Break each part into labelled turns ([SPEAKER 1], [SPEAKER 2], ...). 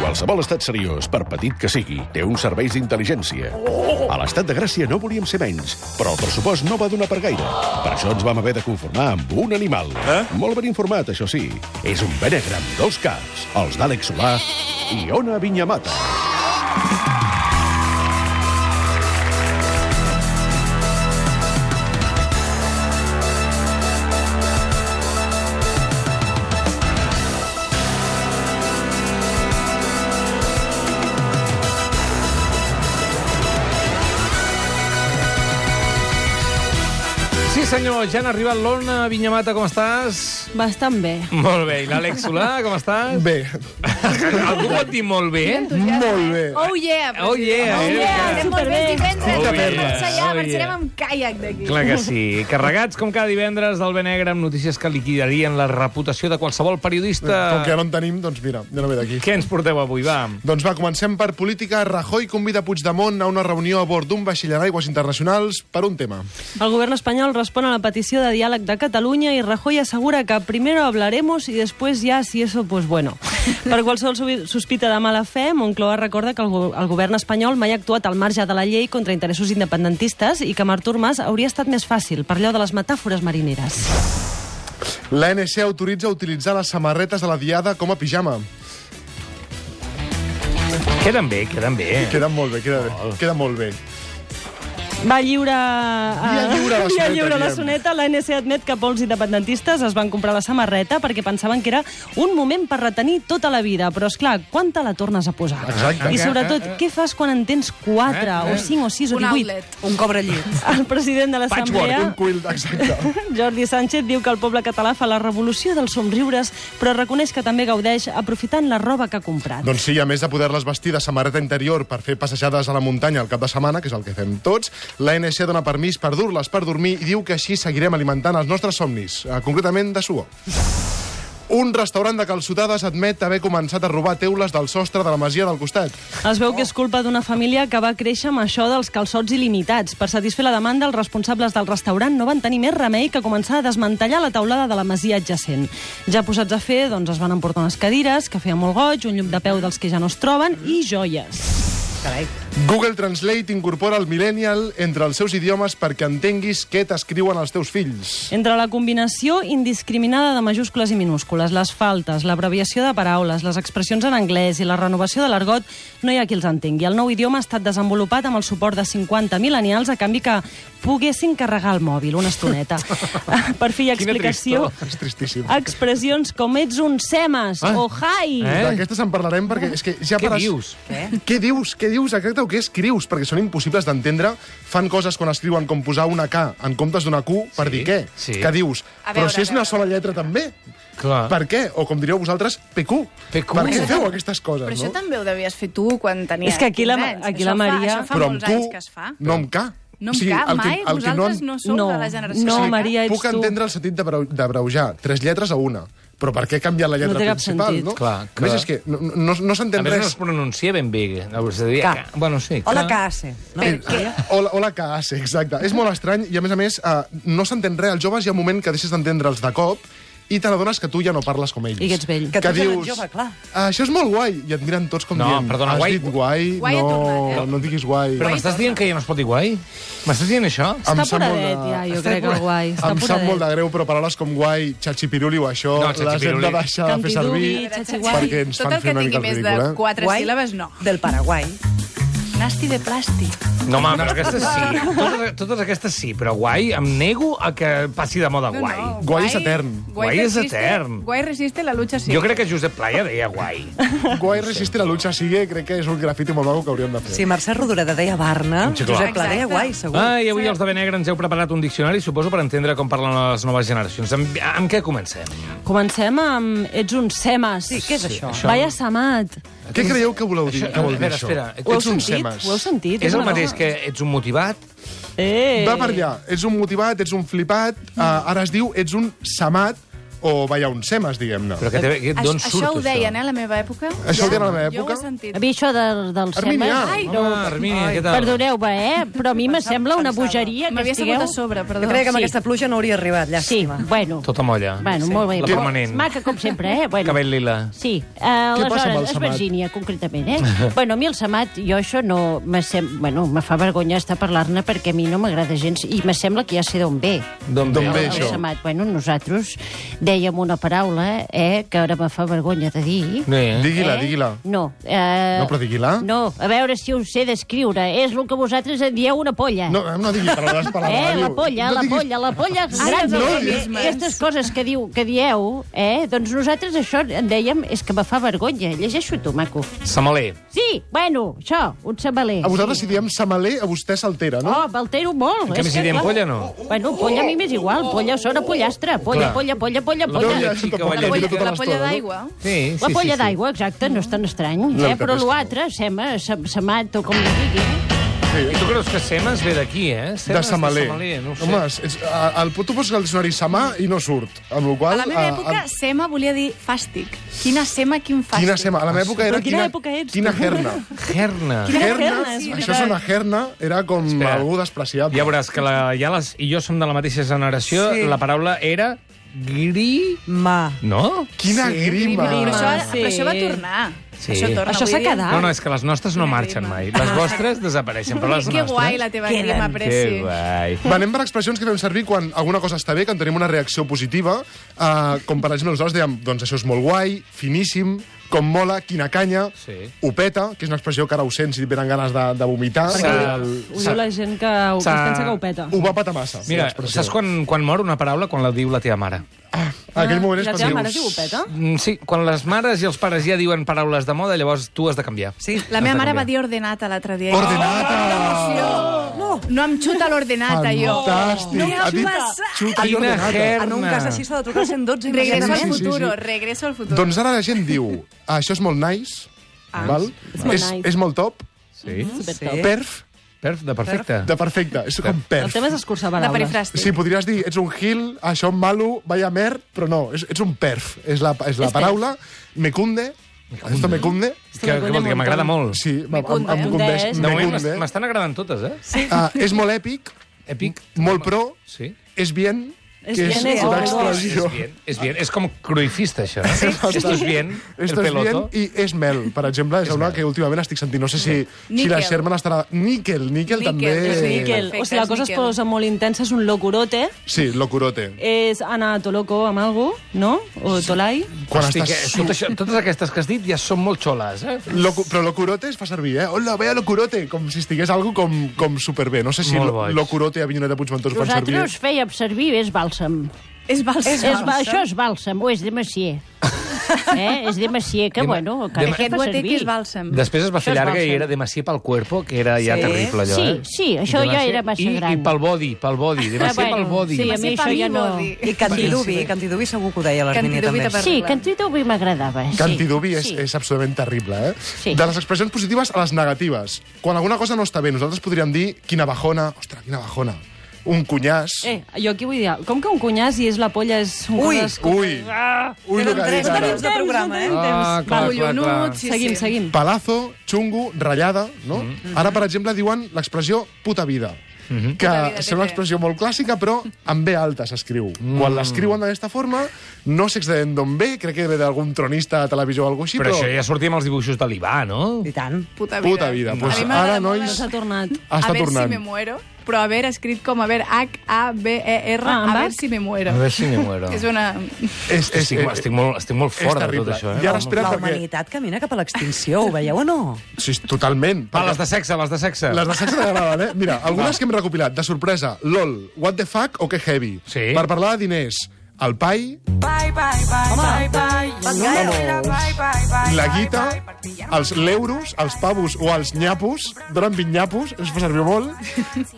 [SPEAKER 1] Qualsevol estat seriós, per petit que sigui, té uns serveis d'intel·ligència. A l'estat de Gràcia no volíem ser menys, però el pressupost no va donar per gaire. Per això ens vam haver de conformar amb un animal. Eh? Molt ben informat, això sí. És un benegre amb dos caps, els d'Àlex Solà i Ona Vinyamata.
[SPEAKER 2] Sí, senyor, ja han arribat l'Ona Vinyamata, com estàs?
[SPEAKER 3] Bastant bé.
[SPEAKER 2] Molt bé. I l'Àlex Solà, com estàs?
[SPEAKER 4] Bé,
[SPEAKER 2] Algú pot dir molt bé? eh?
[SPEAKER 4] molt bé.
[SPEAKER 5] Oh yeah!
[SPEAKER 2] Oh, yeah.
[SPEAKER 5] Oh yeah!
[SPEAKER 2] Eh?
[SPEAKER 5] Anem molt bé, divendres,
[SPEAKER 2] Oh,
[SPEAKER 5] oh,
[SPEAKER 2] yeah.
[SPEAKER 5] yeah. marxar
[SPEAKER 2] Oh,
[SPEAKER 5] oh, marxarem
[SPEAKER 2] yeah.
[SPEAKER 5] amb caiac d'aquí.
[SPEAKER 2] Clar que sí. Carregats, com cada divendres, del Benegre, amb notícies que liquidarien la reputació de qualsevol
[SPEAKER 4] Com que
[SPEAKER 2] periodista.
[SPEAKER 4] no en tenim, doncs mira, ja no ve d'aquí.
[SPEAKER 2] Què ens porteu avui, va?
[SPEAKER 4] Doncs va, comencem per política. Rajoy convida Puigdemont a una reunió a bord d'un vaixell en aigües internacionals per un tema.
[SPEAKER 3] El govern espanyol respon a la petició de diàleg de Catalunya i Rajoy assegura que primero hablaremos y después ya si eso, pues bueno. Per qualsevol sobi- sospita de mala fe, Moncloa recorda que el, go el govern espanyol mai ha actuat al marge de la llei contra interessos independentistes i que amb Artur Mas hauria estat més fàcil, per allò de les metàfores marineres.
[SPEAKER 4] L'ANC autoritza utilitzar les samarretes de la Diada com a pijama.
[SPEAKER 2] Queden bé, queden bé.
[SPEAKER 4] Queda molt bé, queda bé. Queda molt bé.
[SPEAKER 3] Va eh, lliure... a-
[SPEAKER 4] Via lliure a la
[SPEAKER 3] Via
[SPEAKER 4] Soneta,
[SPEAKER 3] lliure a la
[SPEAKER 4] diem.
[SPEAKER 3] soneta. L'ANC admet que pols independentistes es van comprar la samarreta perquè pensaven que era un moment per retenir tota la vida. Però, és clar, quan te la tornes a posar?
[SPEAKER 4] Exacte.
[SPEAKER 3] I,
[SPEAKER 5] Eh,
[SPEAKER 3] sobretot, què fas quan en tens 4, o 5, o 6, o
[SPEAKER 5] Un
[SPEAKER 3] 18?
[SPEAKER 5] outlet.
[SPEAKER 6] Un cobre llit.
[SPEAKER 3] El president de l'Assemblea,
[SPEAKER 4] Un quilt, exacte.
[SPEAKER 3] Jordi Sánchez, diu que el poble català fa la revolució dels somriures, però reconeix que també gaudeix aprofitant la roba que ha comprat.
[SPEAKER 4] Doncs sí, a més de poder-les vestir de samarreta interior per fer passejades a la muntanya al cap de setmana, que és el que fem tots, l'ANC dona permís per dur-les per dormir i diu que així seguirem alimentant els nostres somnis, eh, concretament de suor. Un restaurant de calçotades admet haver començat a robar teules del sostre de la masia del costat.
[SPEAKER 3] Es veu que és culpa d'una família que va créixer amb això dels calçots il·limitats. Per satisfer la demanda, els responsables del restaurant no van tenir més remei que començar a desmantellar la taulada de la masia adjacent. Ja posats a fer, doncs es van emportar unes cadires, que feia molt goig, un llum de peu dels que ja no es troben i joies.
[SPEAKER 4] Google Translate incorpora el millennial entre els seus idiomes perquè entenguis què t'escriuen els teus fills.
[SPEAKER 3] Entre la combinació indiscriminada de majúscules i minúscules, les faltes, l'abreviació de paraules, les expressions en anglès i la renovació de l'argot, no hi ha qui els entengui. El nou idioma ha estat desenvolupat amb el suport de 50 milenials a canvi que poguessin carregar el mòbil una estoneta. per fi hi ha
[SPEAKER 2] Quina
[SPEAKER 3] explicació...
[SPEAKER 4] És tristíssim.
[SPEAKER 3] Expressions com ets un semes
[SPEAKER 4] Ah.
[SPEAKER 3] o hai.
[SPEAKER 2] Eh?
[SPEAKER 4] D'aquestes en parlarem
[SPEAKER 5] Ah.
[SPEAKER 4] perquè és que ja
[SPEAKER 2] Què
[SPEAKER 4] per es-
[SPEAKER 2] dius?
[SPEAKER 4] Què? Què dius? Què dius? Exacte, o què escrius? Perquè són impossibles d'entendre. Fan coses quan escriuen com posar una K en comptes d'una Q per
[SPEAKER 2] Sí,
[SPEAKER 4] dir què?
[SPEAKER 2] sí. Ah.
[SPEAKER 4] Que dius?
[SPEAKER 5] A
[SPEAKER 4] Però
[SPEAKER 5] veure,
[SPEAKER 4] si és
[SPEAKER 5] a
[SPEAKER 4] una
[SPEAKER 5] veure.
[SPEAKER 4] sola lletra també.
[SPEAKER 2] Clar.
[SPEAKER 4] Per què? O com diríeu vosaltres, PQ.
[SPEAKER 2] PQ.
[SPEAKER 4] Per què feu aquestes coses,
[SPEAKER 5] Però això
[SPEAKER 4] no?
[SPEAKER 5] també ho devies fer tu quan tenies
[SPEAKER 3] És que aquí la-
[SPEAKER 5] 15 anys.
[SPEAKER 3] aquí
[SPEAKER 5] Això
[SPEAKER 3] la Maria-
[SPEAKER 5] Fa, això fa
[SPEAKER 4] Però amb
[SPEAKER 5] molts
[SPEAKER 4] Q,
[SPEAKER 5] anys que es fa.
[SPEAKER 4] no amb K.
[SPEAKER 5] No
[SPEAKER 4] O
[SPEAKER 5] em
[SPEAKER 4] sigui,
[SPEAKER 5] cap
[SPEAKER 4] el que-
[SPEAKER 5] mai,
[SPEAKER 4] el que no en-
[SPEAKER 5] vosaltres no, sou
[SPEAKER 3] No,
[SPEAKER 5] de la generació.
[SPEAKER 3] no,
[SPEAKER 5] que cap.
[SPEAKER 3] Maria, ets
[SPEAKER 4] Puc
[SPEAKER 3] tu.
[SPEAKER 4] entendre el sentit de breu- de breujar tres lletres a una, però per què canviar la lletra
[SPEAKER 3] té cap
[SPEAKER 4] principal,
[SPEAKER 3] sentit.
[SPEAKER 4] no?
[SPEAKER 2] Clar,
[SPEAKER 4] A més,
[SPEAKER 2] clar.
[SPEAKER 4] és que no, no, no
[SPEAKER 2] A
[SPEAKER 4] s'entén
[SPEAKER 2] més, no
[SPEAKER 4] res.
[SPEAKER 2] es pronuncia ben bé. Hauries de dir...
[SPEAKER 6] Ca.
[SPEAKER 2] ca. Bueno, sí.
[SPEAKER 6] Hola,
[SPEAKER 2] ca.
[SPEAKER 6] casa. No?
[SPEAKER 4] Hola, hola que hace, exacte. És molt estrany i, a més a més, eh, no s'entén res. Als joves hi ha un moment que deixes d'entendre'ls de cop i te n'adones que tu ja no parles com ells.
[SPEAKER 3] I que ets vell.
[SPEAKER 6] Que tu ja no ets jove, clar.
[SPEAKER 4] "Ah, això és molt guai. I et miren tots com
[SPEAKER 2] No,
[SPEAKER 4] dient...
[SPEAKER 2] perdona,
[SPEAKER 4] Has
[SPEAKER 2] guai-
[SPEAKER 4] dit guai,
[SPEAKER 5] guai ha
[SPEAKER 4] no,
[SPEAKER 5] tornat, eh?"
[SPEAKER 4] no diguis guai.
[SPEAKER 2] Però m'estàs dient que ja no es pot dir guai? M'estàs dient això?
[SPEAKER 3] Està
[SPEAKER 4] sap molt
[SPEAKER 3] poradet, ja, jo
[SPEAKER 2] Està
[SPEAKER 3] crec que
[SPEAKER 2] apura-
[SPEAKER 3] guai. Està
[SPEAKER 4] em sap molt
[SPEAKER 3] poradet.
[SPEAKER 4] de greu, però paraules com guai, xachipiruli o això,
[SPEAKER 2] No,
[SPEAKER 4] les hem
[SPEAKER 2] xachipiruli.
[SPEAKER 4] de deixar de fer servir
[SPEAKER 3] Cantidubi, xachiguai.
[SPEAKER 4] perquè ens
[SPEAKER 5] Tot
[SPEAKER 4] fan
[SPEAKER 5] el que
[SPEAKER 4] fer una
[SPEAKER 5] tingui
[SPEAKER 4] mica
[SPEAKER 5] més
[SPEAKER 4] el
[SPEAKER 5] de
[SPEAKER 4] ridícul, eh?
[SPEAKER 5] quatre
[SPEAKER 6] Guai.
[SPEAKER 5] síl·labes, no.
[SPEAKER 6] Del Paraguai.
[SPEAKER 5] Nasti de plàstic.
[SPEAKER 2] No, home, però aquestes sí. Totes, totes aquestes sí, però guai, em nego a que passi de moda guai.
[SPEAKER 4] Guai és etern.
[SPEAKER 2] Guai és
[SPEAKER 5] resiste-
[SPEAKER 2] etern.
[SPEAKER 5] Guai resiste la lucha sí.
[SPEAKER 2] Jo crec que Josep Playa deia guai.
[SPEAKER 4] Guai resiste la lucha sigue, crec que és un grafiti molt maco que hauríem de fer.
[SPEAKER 6] Si Mercè Rodoreda deia Barna,
[SPEAKER 2] Un xiclot.
[SPEAKER 6] Josep Pla deia
[SPEAKER 5] Exacte.
[SPEAKER 6] guai, segur.
[SPEAKER 2] Ah, i avui els de Benegre ens heu preparat un diccionari, suposo, per entendre com parlen les noves generacions. Amb, amb què comencem?
[SPEAKER 3] Comencem amb ets un semes.
[SPEAKER 6] Sí, què és això?
[SPEAKER 3] Vaya samat.
[SPEAKER 4] Què creieu que voleu dir?
[SPEAKER 2] Això-
[SPEAKER 4] que vol dir
[SPEAKER 2] espera,
[SPEAKER 4] això?
[SPEAKER 2] espera.
[SPEAKER 4] Ets
[SPEAKER 2] Ho heu
[SPEAKER 4] un
[SPEAKER 3] sentit?
[SPEAKER 4] semes.
[SPEAKER 3] Ho heu sentit?
[SPEAKER 2] És el
[SPEAKER 3] una
[SPEAKER 2] mateix
[SPEAKER 3] cosa-
[SPEAKER 2] que ets un motivat?
[SPEAKER 3] Eh.
[SPEAKER 4] Eh, Va per allà. Ets un motivat, ets un flipat, uh, ara es diu ets un samat, o ballar uns semes, diguem-ne.
[SPEAKER 2] Però que, que,
[SPEAKER 5] Aix-
[SPEAKER 2] d'on
[SPEAKER 5] això,
[SPEAKER 2] surt,
[SPEAKER 5] ho deien, eh, a la meva època.
[SPEAKER 4] Això ho deien a la meva
[SPEAKER 5] Jo ho
[SPEAKER 4] època?
[SPEAKER 5] he sentit.
[SPEAKER 7] A mi això de, dels
[SPEAKER 4] Arminià.
[SPEAKER 7] semes...
[SPEAKER 3] eh?
[SPEAKER 5] Ai,
[SPEAKER 2] Home, Armínia, Ah, què tal?
[SPEAKER 7] Perdoneu, eh? Però a mi me sembla una bogeria que
[SPEAKER 5] M'havia
[SPEAKER 7] estigueu...
[SPEAKER 5] sabut a sobre, perdó.
[SPEAKER 6] Jo creia que amb
[SPEAKER 7] Sí.
[SPEAKER 6] aquesta pluja no hauria arribat,
[SPEAKER 7] Sí,
[SPEAKER 6] llàstima.
[SPEAKER 7] bueno.
[SPEAKER 2] Tota molla.
[SPEAKER 7] Bueno, molt bé.
[SPEAKER 2] La
[SPEAKER 7] Però
[SPEAKER 2] permanent.
[SPEAKER 7] Maca, com sempre, eh? Bueno.
[SPEAKER 2] Cabell lila.
[SPEAKER 7] Sí, eh,
[SPEAKER 4] Què passa amb el
[SPEAKER 7] aleshores, és
[SPEAKER 4] Samat?
[SPEAKER 7] Virgínia, concretament, eh? bueno, a mi el Samat, jo això no... Me sem... Bueno, me fa vergonya estar parlant-ne perquè a mi no m'agrada gens i me sembla que ja sé d'on ve. eh,
[SPEAKER 2] D'on
[SPEAKER 4] D'on ve,
[SPEAKER 7] el,
[SPEAKER 4] això?
[SPEAKER 7] el Samat. Bueno, nosaltres dèiem una paraula eh, que ara me fa vergonya de dir.
[SPEAKER 2] No, eh?
[SPEAKER 4] Digui-la,
[SPEAKER 7] eh?
[SPEAKER 4] digui-la.
[SPEAKER 7] No. Eh,
[SPEAKER 4] No, però digui-la.
[SPEAKER 7] No, a veure si ho sé descriure. És el que vosaltres en dieu una polla.
[SPEAKER 4] No, eh, no digui paraules per la
[SPEAKER 7] Eh,
[SPEAKER 4] ràdio.
[SPEAKER 7] la polla,
[SPEAKER 4] no
[SPEAKER 7] la
[SPEAKER 4] diguis-
[SPEAKER 7] polla, la polla, els grans
[SPEAKER 5] no,
[SPEAKER 7] eufemismes.
[SPEAKER 5] no.
[SPEAKER 7] Aquestes coses que, diu, que dieu, eh, doncs nosaltres això en dèiem, és que me fa vergonya. Llegeixo tu, maco.
[SPEAKER 2] Samaler.
[SPEAKER 7] Sí, bueno, això, un samaler.
[SPEAKER 4] A vosaltres, si diem samaler, a vostè s'altera, no?
[SPEAKER 7] Oh, m'altero molt.
[SPEAKER 2] En canvi,
[SPEAKER 7] És
[SPEAKER 2] si
[SPEAKER 7] que,
[SPEAKER 2] diem
[SPEAKER 7] clar,
[SPEAKER 2] polla, no.
[SPEAKER 7] Bueno, polla a mi m'és igual. Polla sona pollastre. Polla,
[SPEAKER 2] Clar.
[SPEAKER 7] polla, polla, polla,
[SPEAKER 2] La
[SPEAKER 7] polla.
[SPEAKER 2] polla.
[SPEAKER 4] això
[SPEAKER 2] Xica,
[SPEAKER 4] tampoc
[SPEAKER 2] la
[SPEAKER 4] la
[SPEAKER 2] polla-
[SPEAKER 4] tira
[SPEAKER 5] Polla,
[SPEAKER 4] tota
[SPEAKER 5] la
[SPEAKER 4] l'estona,
[SPEAKER 5] polla
[SPEAKER 4] no?
[SPEAKER 5] d'aigua.
[SPEAKER 2] Sí,
[SPEAKER 7] La
[SPEAKER 2] sí,
[SPEAKER 7] polla
[SPEAKER 2] sí, sí.
[SPEAKER 7] d'aigua, exacte, no és tan estrany.
[SPEAKER 4] La
[SPEAKER 7] Eh?
[SPEAKER 4] veritat
[SPEAKER 7] Però
[SPEAKER 4] és que no.
[SPEAKER 7] l'altre, sema, sem- semat o com ho digui.
[SPEAKER 2] I tu creus que Semes ve d'aquí, eh?
[SPEAKER 4] De
[SPEAKER 2] Semes
[SPEAKER 4] Samalé.
[SPEAKER 2] no ho sé.
[SPEAKER 4] Home, és, és, a- el, tu poses el diccionari Samà i no surt. Amb la
[SPEAKER 5] A
[SPEAKER 4] qual
[SPEAKER 5] la meva època, sema volia dir fàstic. Quina sema, quin fàstic.
[SPEAKER 4] quina sema? A la meva època era...
[SPEAKER 3] Però quina època ets,
[SPEAKER 4] Quina
[SPEAKER 3] tu?
[SPEAKER 4] herna.
[SPEAKER 2] Gerna.
[SPEAKER 4] Herna,
[SPEAKER 3] és
[SPEAKER 4] això és una herna, era com
[SPEAKER 2] Espera.
[SPEAKER 4] algú despreciable.
[SPEAKER 2] Ja veuràs que la Yales i jo som de la mateixa generació.
[SPEAKER 6] Sí.
[SPEAKER 2] La paraula era gri...
[SPEAKER 6] Ma.
[SPEAKER 2] No?
[SPEAKER 4] Quina grima.
[SPEAKER 5] Però això,
[SPEAKER 3] Ah, sí.
[SPEAKER 5] però això va tornar.
[SPEAKER 2] Sí.
[SPEAKER 5] Això torna.
[SPEAKER 3] Això s'ha
[SPEAKER 5] vull dir-
[SPEAKER 3] quedat.
[SPEAKER 2] No, no, és que les nostres no marxen mai. Les vostres desapareixen, però les
[SPEAKER 5] Que
[SPEAKER 2] nostres...
[SPEAKER 5] guai la teva
[SPEAKER 6] Queden.
[SPEAKER 5] grima,
[SPEAKER 2] Que
[SPEAKER 5] Preci.
[SPEAKER 2] guai.
[SPEAKER 4] eh? Va, anem per expressions que fem servir quan alguna cosa està bé, que en tenim una reacció positiva, eh, com per exemple nosaltres dèiem, doncs això és molt guai, finíssim, com mola, quina canya,
[SPEAKER 2] Sí.
[SPEAKER 4] ho peta, que és una expressió que ara ho sents i et venen ganes de, de vomitar.
[SPEAKER 2] S'ha-
[SPEAKER 3] Ho diu la gent que, que es
[SPEAKER 2] S'ha-
[SPEAKER 3] pensa que ho peta.
[SPEAKER 4] Ho va patar massa,
[SPEAKER 2] Mira,
[SPEAKER 4] l'expressió.
[SPEAKER 2] saps quan, quan mor una paraula? Quan la diu la teva mare.
[SPEAKER 4] En aquell moment és
[SPEAKER 3] La
[SPEAKER 4] quan
[SPEAKER 3] teva
[SPEAKER 4] dius,
[SPEAKER 3] mare es diu ho peta?
[SPEAKER 2] Mm, Sí, quan les mares i els pares ja diuen paraules de moda, llavors tu has de canviar.
[SPEAKER 6] Sí.
[SPEAKER 5] La
[SPEAKER 2] Has
[SPEAKER 5] meva
[SPEAKER 2] de
[SPEAKER 5] mare
[SPEAKER 2] canviar.
[SPEAKER 5] va dir ordenata l'altre dia.
[SPEAKER 3] Ah,
[SPEAKER 4] Ordenata!
[SPEAKER 5] No em xuta l'ordenata, jo.
[SPEAKER 4] Fantàstic!
[SPEAKER 5] No em
[SPEAKER 4] ha Ah, dit
[SPEAKER 5] passa.
[SPEAKER 4] xuta i
[SPEAKER 2] Quina
[SPEAKER 4] ordenata.
[SPEAKER 2] gerra.
[SPEAKER 6] En un cas així s'ha de trucar al 112
[SPEAKER 5] Regreso al
[SPEAKER 4] Sí,
[SPEAKER 6] immediatament.
[SPEAKER 4] sí, sí.
[SPEAKER 5] futuro, regreso al futuro.
[SPEAKER 4] Doncs ara la gent diu, això és molt nice,
[SPEAKER 6] Ah,
[SPEAKER 4] val?
[SPEAKER 3] és molt
[SPEAKER 4] és,
[SPEAKER 3] nice. Eh?
[SPEAKER 4] és molt top,
[SPEAKER 2] Sí.
[SPEAKER 6] Sí.
[SPEAKER 4] perf,
[SPEAKER 2] Perf, de perfecte.
[SPEAKER 4] de perfecte, és com
[SPEAKER 3] El
[SPEAKER 4] perf.
[SPEAKER 3] tema és escurçar
[SPEAKER 5] La
[SPEAKER 3] paraules.
[SPEAKER 5] perifràstic.
[SPEAKER 4] Sí, podries dir, ets un gil, això em malo, vaya mer, però no, és, ets un perf. És la, és la paraula, me cunde, esto me cunde,
[SPEAKER 2] Que, que vol dir que m'agrada molt.
[SPEAKER 4] sí, em, em,
[SPEAKER 5] cunde,
[SPEAKER 4] em
[SPEAKER 5] eh?
[SPEAKER 4] condeix,
[SPEAKER 3] Condeix.
[SPEAKER 2] De
[SPEAKER 4] me
[SPEAKER 2] moment
[SPEAKER 4] cunde.
[SPEAKER 2] m'est- m'estan agradant totes, eh?
[SPEAKER 4] Ah, és molt èpic,
[SPEAKER 2] Èpic.
[SPEAKER 4] molt pro,
[SPEAKER 2] Sí.
[SPEAKER 4] és bien,
[SPEAKER 3] És
[SPEAKER 4] que
[SPEAKER 3] bien,
[SPEAKER 4] és
[SPEAKER 3] és
[SPEAKER 4] una
[SPEAKER 3] horrorós.
[SPEAKER 4] expressió.
[SPEAKER 2] És bien, és bien. És com cruifista, això. no? Esto es bien, el
[SPEAKER 4] Esto es bien
[SPEAKER 2] peloto.
[SPEAKER 4] i és mel, per exemple, és una que últimament estic sentint. No sé si, si la
[SPEAKER 5] Níquel.
[SPEAKER 4] Sherman estarà... Níquel, níquel
[SPEAKER 5] Níquel,
[SPEAKER 4] també...
[SPEAKER 5] és
[SPEAKER 3] Níquel.
[SPEAKER 5] Perfecte,
[SPEAKER 3] O sigui, la
[SPEAKER 5] és
[SPEAKER 3] cosa es
[SPEAKER 5] níquel.
[SPEAKER 3] posa molt intensa, és un locurote,
[SPEAKER 4] Sí, locurote.
[SPEAKER 3] és anar a Toloco amb algú, no? O Tolai.
[SPEAKER 4] Quan
[SPEAKER 2] Hosti, que,
[SPEAKER 4] estàs...
[SPEAKER 2] tot això, totes aquestes que has dit ja són molt xoles, eh?
[SPEAKER 4] Locu però l'ocurote es fa servir, eh? Hola, veia l'ocurote! Com si estigués algo com, com superbé. No sé si
[SPEAKER 2] Molt boig.
[SPEAKER 4] l'ocurote a Vinyonet de Puigventós fan servir.
[SPEAKER 7] Nosaltres fèiem servir, és bàlsam.
[SPEAKER 5] És bàlsam.
[SPEAKER 7] És, ba- això és bàlsam, o és de Macier. eh? És de Macier, que,
[SPEAKER 2] De ma-
[SPEAKER 7] bueno,
[SPEAKER 2] de
[SPEAKER 7] que
[SPEAKER 2] ma-
[SPEAKER 5] Aquest
[SPEAKER 7] fa
[SPEAKER 5] guatequi és
[SPEAKER 7] servir. Ah,
[SPEAKER 5] bàlsam.
[SPEAKER 2] Després es va fer
[SPEAKER 7] Mm. Això és
[SPEAKER 2] llarga i
[SPEAKER 7] bàlsam.
[SPEAKER 2] era Demacier pel cuerpo, que era ja
[SPEAKER 6] Sí.
[SPEAKER 2] terrible, allò,
[SPEAKER 7] Sí,
[SPEAKER 2] eh?
[SPEAKER 7] sí, això ja
[SPEAKER 2] Demacier
[SPEAKER 7] era massa
[SPEAKER 2] i,
[SPEAKER 7] gran.
[SPEAKER 2] I pel body, pel body.
[SPEAKER 7] Ah,
[SPEAKER 2] Demacier pel body.
[SPEAKER 7] sí, a
[SPEAKER 5] Ser
[SPEAKER 7] mi
[SPEAKER 5] pa
[SPEAKER 7] això ja
[SPEAKER 5] mi
[SPEAKER 7] no...
[SPEAKER 5] vol dir.
[SPEAKER 6] I Cantidubi, Cantidubi segur que ho deia l'Armínia
[SPEAKER 5] Cantidubi
[SPEAKER 6] també.
[SPEAKER 5] de
[SPEAKER 7] Sí,
[SPEAKER 5] Parlant.
[SPEAKER 7] Cantidubi m'agradava. Sí.
[SPEAKER 4] Cantidubi és,
[SPEAKER 7] sí.
[SPEAKER 4] és absolutament terrible, eh?
[SPEAKER 7] Sí.
[SPEAKER 4] De les expressions positives a les negatives. Quan alguna cosa no està bé, nosaltres podríem dir quina bajona, ostres, quina bajona, un cunyàs...
[SPEAKER 3] Eh, jo aquí vull dir, com que un cunyàs i és la polla és un
[SPEAKER 6] Ui.
[SPEAKER 3] cos-
[SPEAKER 4] Ui,
[SPEAKER 7] Ah,
[SPEAKER 4] ui, el que
[SPEAKER 6] Tenen
[SPEAKER 4] ha dit
[SPEAKER 6] tres
[SPEAKER 4] ara.
[SPEAKER 6] minuts de programa, eh?
[SPEAKER 2] Ah, clar, clar, clar.
[SPEAKER 5] Collonut, sí,
[SPEAKER 3] Seguim,
[SPEAKER 5] sí.
[SPEAKER 3] seguim.
[SPEAKER 4] Palazo, xungo, ratllada, no?
[SPEAKER 2] Mm-hmm.
[SPEAKER 4] Ara, per exemple, diuen l'expressió puta vida, que
[SPEAKER 5] Puta vida,
[SPEAKER 4] sembla una
[SPEAKER 5] té.
[SPEAKER 4] expressió molt clàssica, però amb B alta s'escriu.
[SPEAKER 2] Mm.
[SPEAKER 4] Quan l'escriuen d'aquesta forma, no sé exactament d'on ve, crec que ve d'algun tronista de televisió o alguna cosa així,
[SPEAKER 2] Però
[SPEAKER 4] però...
[SPEAKER 2] això ja sortia amb els dibuixos de l'Ibà, no?
[SPEAKER 6] I tant.
[SPEAKER 5] Puta vida.
[SPEAKER 4] Puta vida. Pues
[SPEAKER 5] A mi m'agrada
[SPEAKER 4] ara,
[SPEAKER 5] molt
[SPEAKER 4] nois,
[SPEAKER 3] S'ha tornat.
[SPEAKER 4] està
[SPEAKER 5] a ver
[SPEAKER 4] tornant.
[SPEAKER 5] si me muero, però haver escrit com a ver H-A-B-E-R,
[SPEAKER 3] Ah, en
[SPEAKER 5] a ver
[SPEAKER 3] Bach?
[SPEAKER 5] si me muero.
[SPEAKER 2] A veure si m'hi muero.
[SPEAKER 5] És una...
[SPEAKER 4] És, és,
[SPEAKER 2] Estic,
[SPEAKER 4] és,
[SPEAKER 2] estic, molt, estic molt fora de tot
[SPEAKER 4] terrible.
[SPEAKER 2] això, eh?
[SPEAKER 4] I ara espera
[SPEAKER 6] La
[SPEAKER 4] perquè...
[SPEAKER 6] humanitat camina cap a l'extinció, ho veieu o no?
[SPEAKER 4] Sí, totalment.
[SPEAKER 2] Va, Ah, les
[SPEAKER 4] perquè
[SPEAKER 2] de sexe, les de sexe.
[SPEAKER 4] Les de sexe t'agraden, eh? Mira, algunes que hem recopilat, de sorpresa, LOL, what the fuck o que heavy.
[SPEAKER 2] Sí.
[SPEAKER 4] Per parlar de diners, el pai,
[SPEAKER 5] eh?
[SPEAKER 4] la guita, els l'euros, els pavos o els nyapos, donen 20 nyapos, es fa servir molt.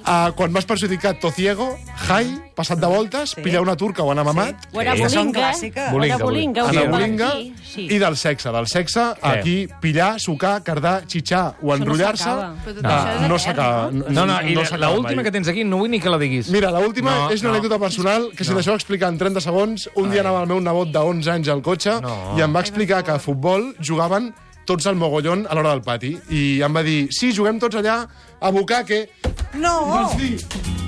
[SPEAKER 4] Uh, quan vas perjudicat, tociego, jai, passat de voltes, pillar una turca o anar mamat,
[SPEAKER 7] O era
[SPEAKER 2] Sí.
[SPEAKER 6] Són
[SPEAKER 7] Bolinga.
[SPEAKER 6] clàssiques.
[SPEAKER 7] Bolinga,
[SPEAKER 2] Bolinga,
[SPEAKER 7] Bolinga. ho
[SPEAKER 2] Bolinga.
[SPEAKER 4] anar
[SPEAKER 2] Ana
[SPEAKER 4] a
[SPEAKER 7] diuen
[SPEAKER 4] bolinga,
[SPEAKER 7] aquí, Sí.
[SPEAKER 4] i del sexe. Del sexe, aquí, pillar, sucar, cardar, xitxar o enrotllar-se,
[SPEAKER 3] s'acaba.
[SPEAKER 5] Però tot
[SPEAKER 4] no,
[SPEAKER 5] això és
[SPEAKER 4] Ah, no
[SPEAKER 5] etern,
[SPEAKER 4] s'acaba.
[SPEAKER 2] No, no, i
[SPEAKER 4] no
[SPEAKER 2] la-
[SPEAKER 4] s'acaba
[SPEAKER 2] l'última
[SPEAKER 4] mai.
[SPEAKER 2] que tens aquí no vull ni que la diguis.
[SPEAKER 4] Mira, l'última
[SPEAKER 2] No,
[SPEAKER 4] és una
[SPEAKER 2] no.
[SPEAKER 4] anècdota personal que si deixeu explicar en 30 segons, un dia anava el meu nebot de 11 anys al cotxe
[SPEAKER 2] No.
[SPEAKER 4] i em va explicar que a futbol jugaven tots al mogollón a l'hora del pati. I em va dir, sí, juguem tots allà a Bucaque.
[SPEAKER 6] No!
[SPEAKER 4] Sí.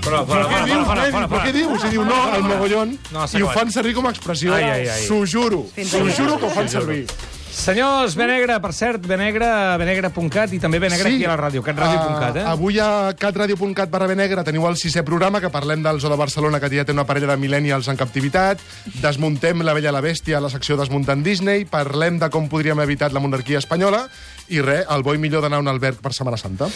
[SPEAKER 2] Però,
[SPEAKER 4] Però què dius,
[SPEAKER 2] fora,
[SPEAKER 4] nen?
[SPEAKER 2] fora,
[SPEAKER 4] Però
[SPEAKER 2] fora.
[SPEAKER 4] què dius? I diu, no, al mogollón.
[SPEAKER 2] No, s'ha
[SPEAKER 4] I ho
[SPEAKER 2] acabat.
[SPEAKER 4] fan servir com a expressió.
[SPEAKER 2] Ai, ai, ai.
[SPEAKER 4] S'ho juro. S'ho juro que ho fan servir.
[SPEAKER 2] Senyors, Benegre, per cert, Benegre, benegre.cat i també Benegre aquí a la ràdio, catradio.cat, eh?
[SPEAKER 4] Ah, avui a catradio.cat barra benegra teniu el sisè programa que parlem del Zoo de Barcelona, que ja té una parella de millennials en captivitat, desmuntem la vella i la bèstia a la secció Desmuntant Disney, parlem de com podríem haver evitat la monarquia espanyola, i res, el bo i millor d'anar a un alberg per Setmana Santa.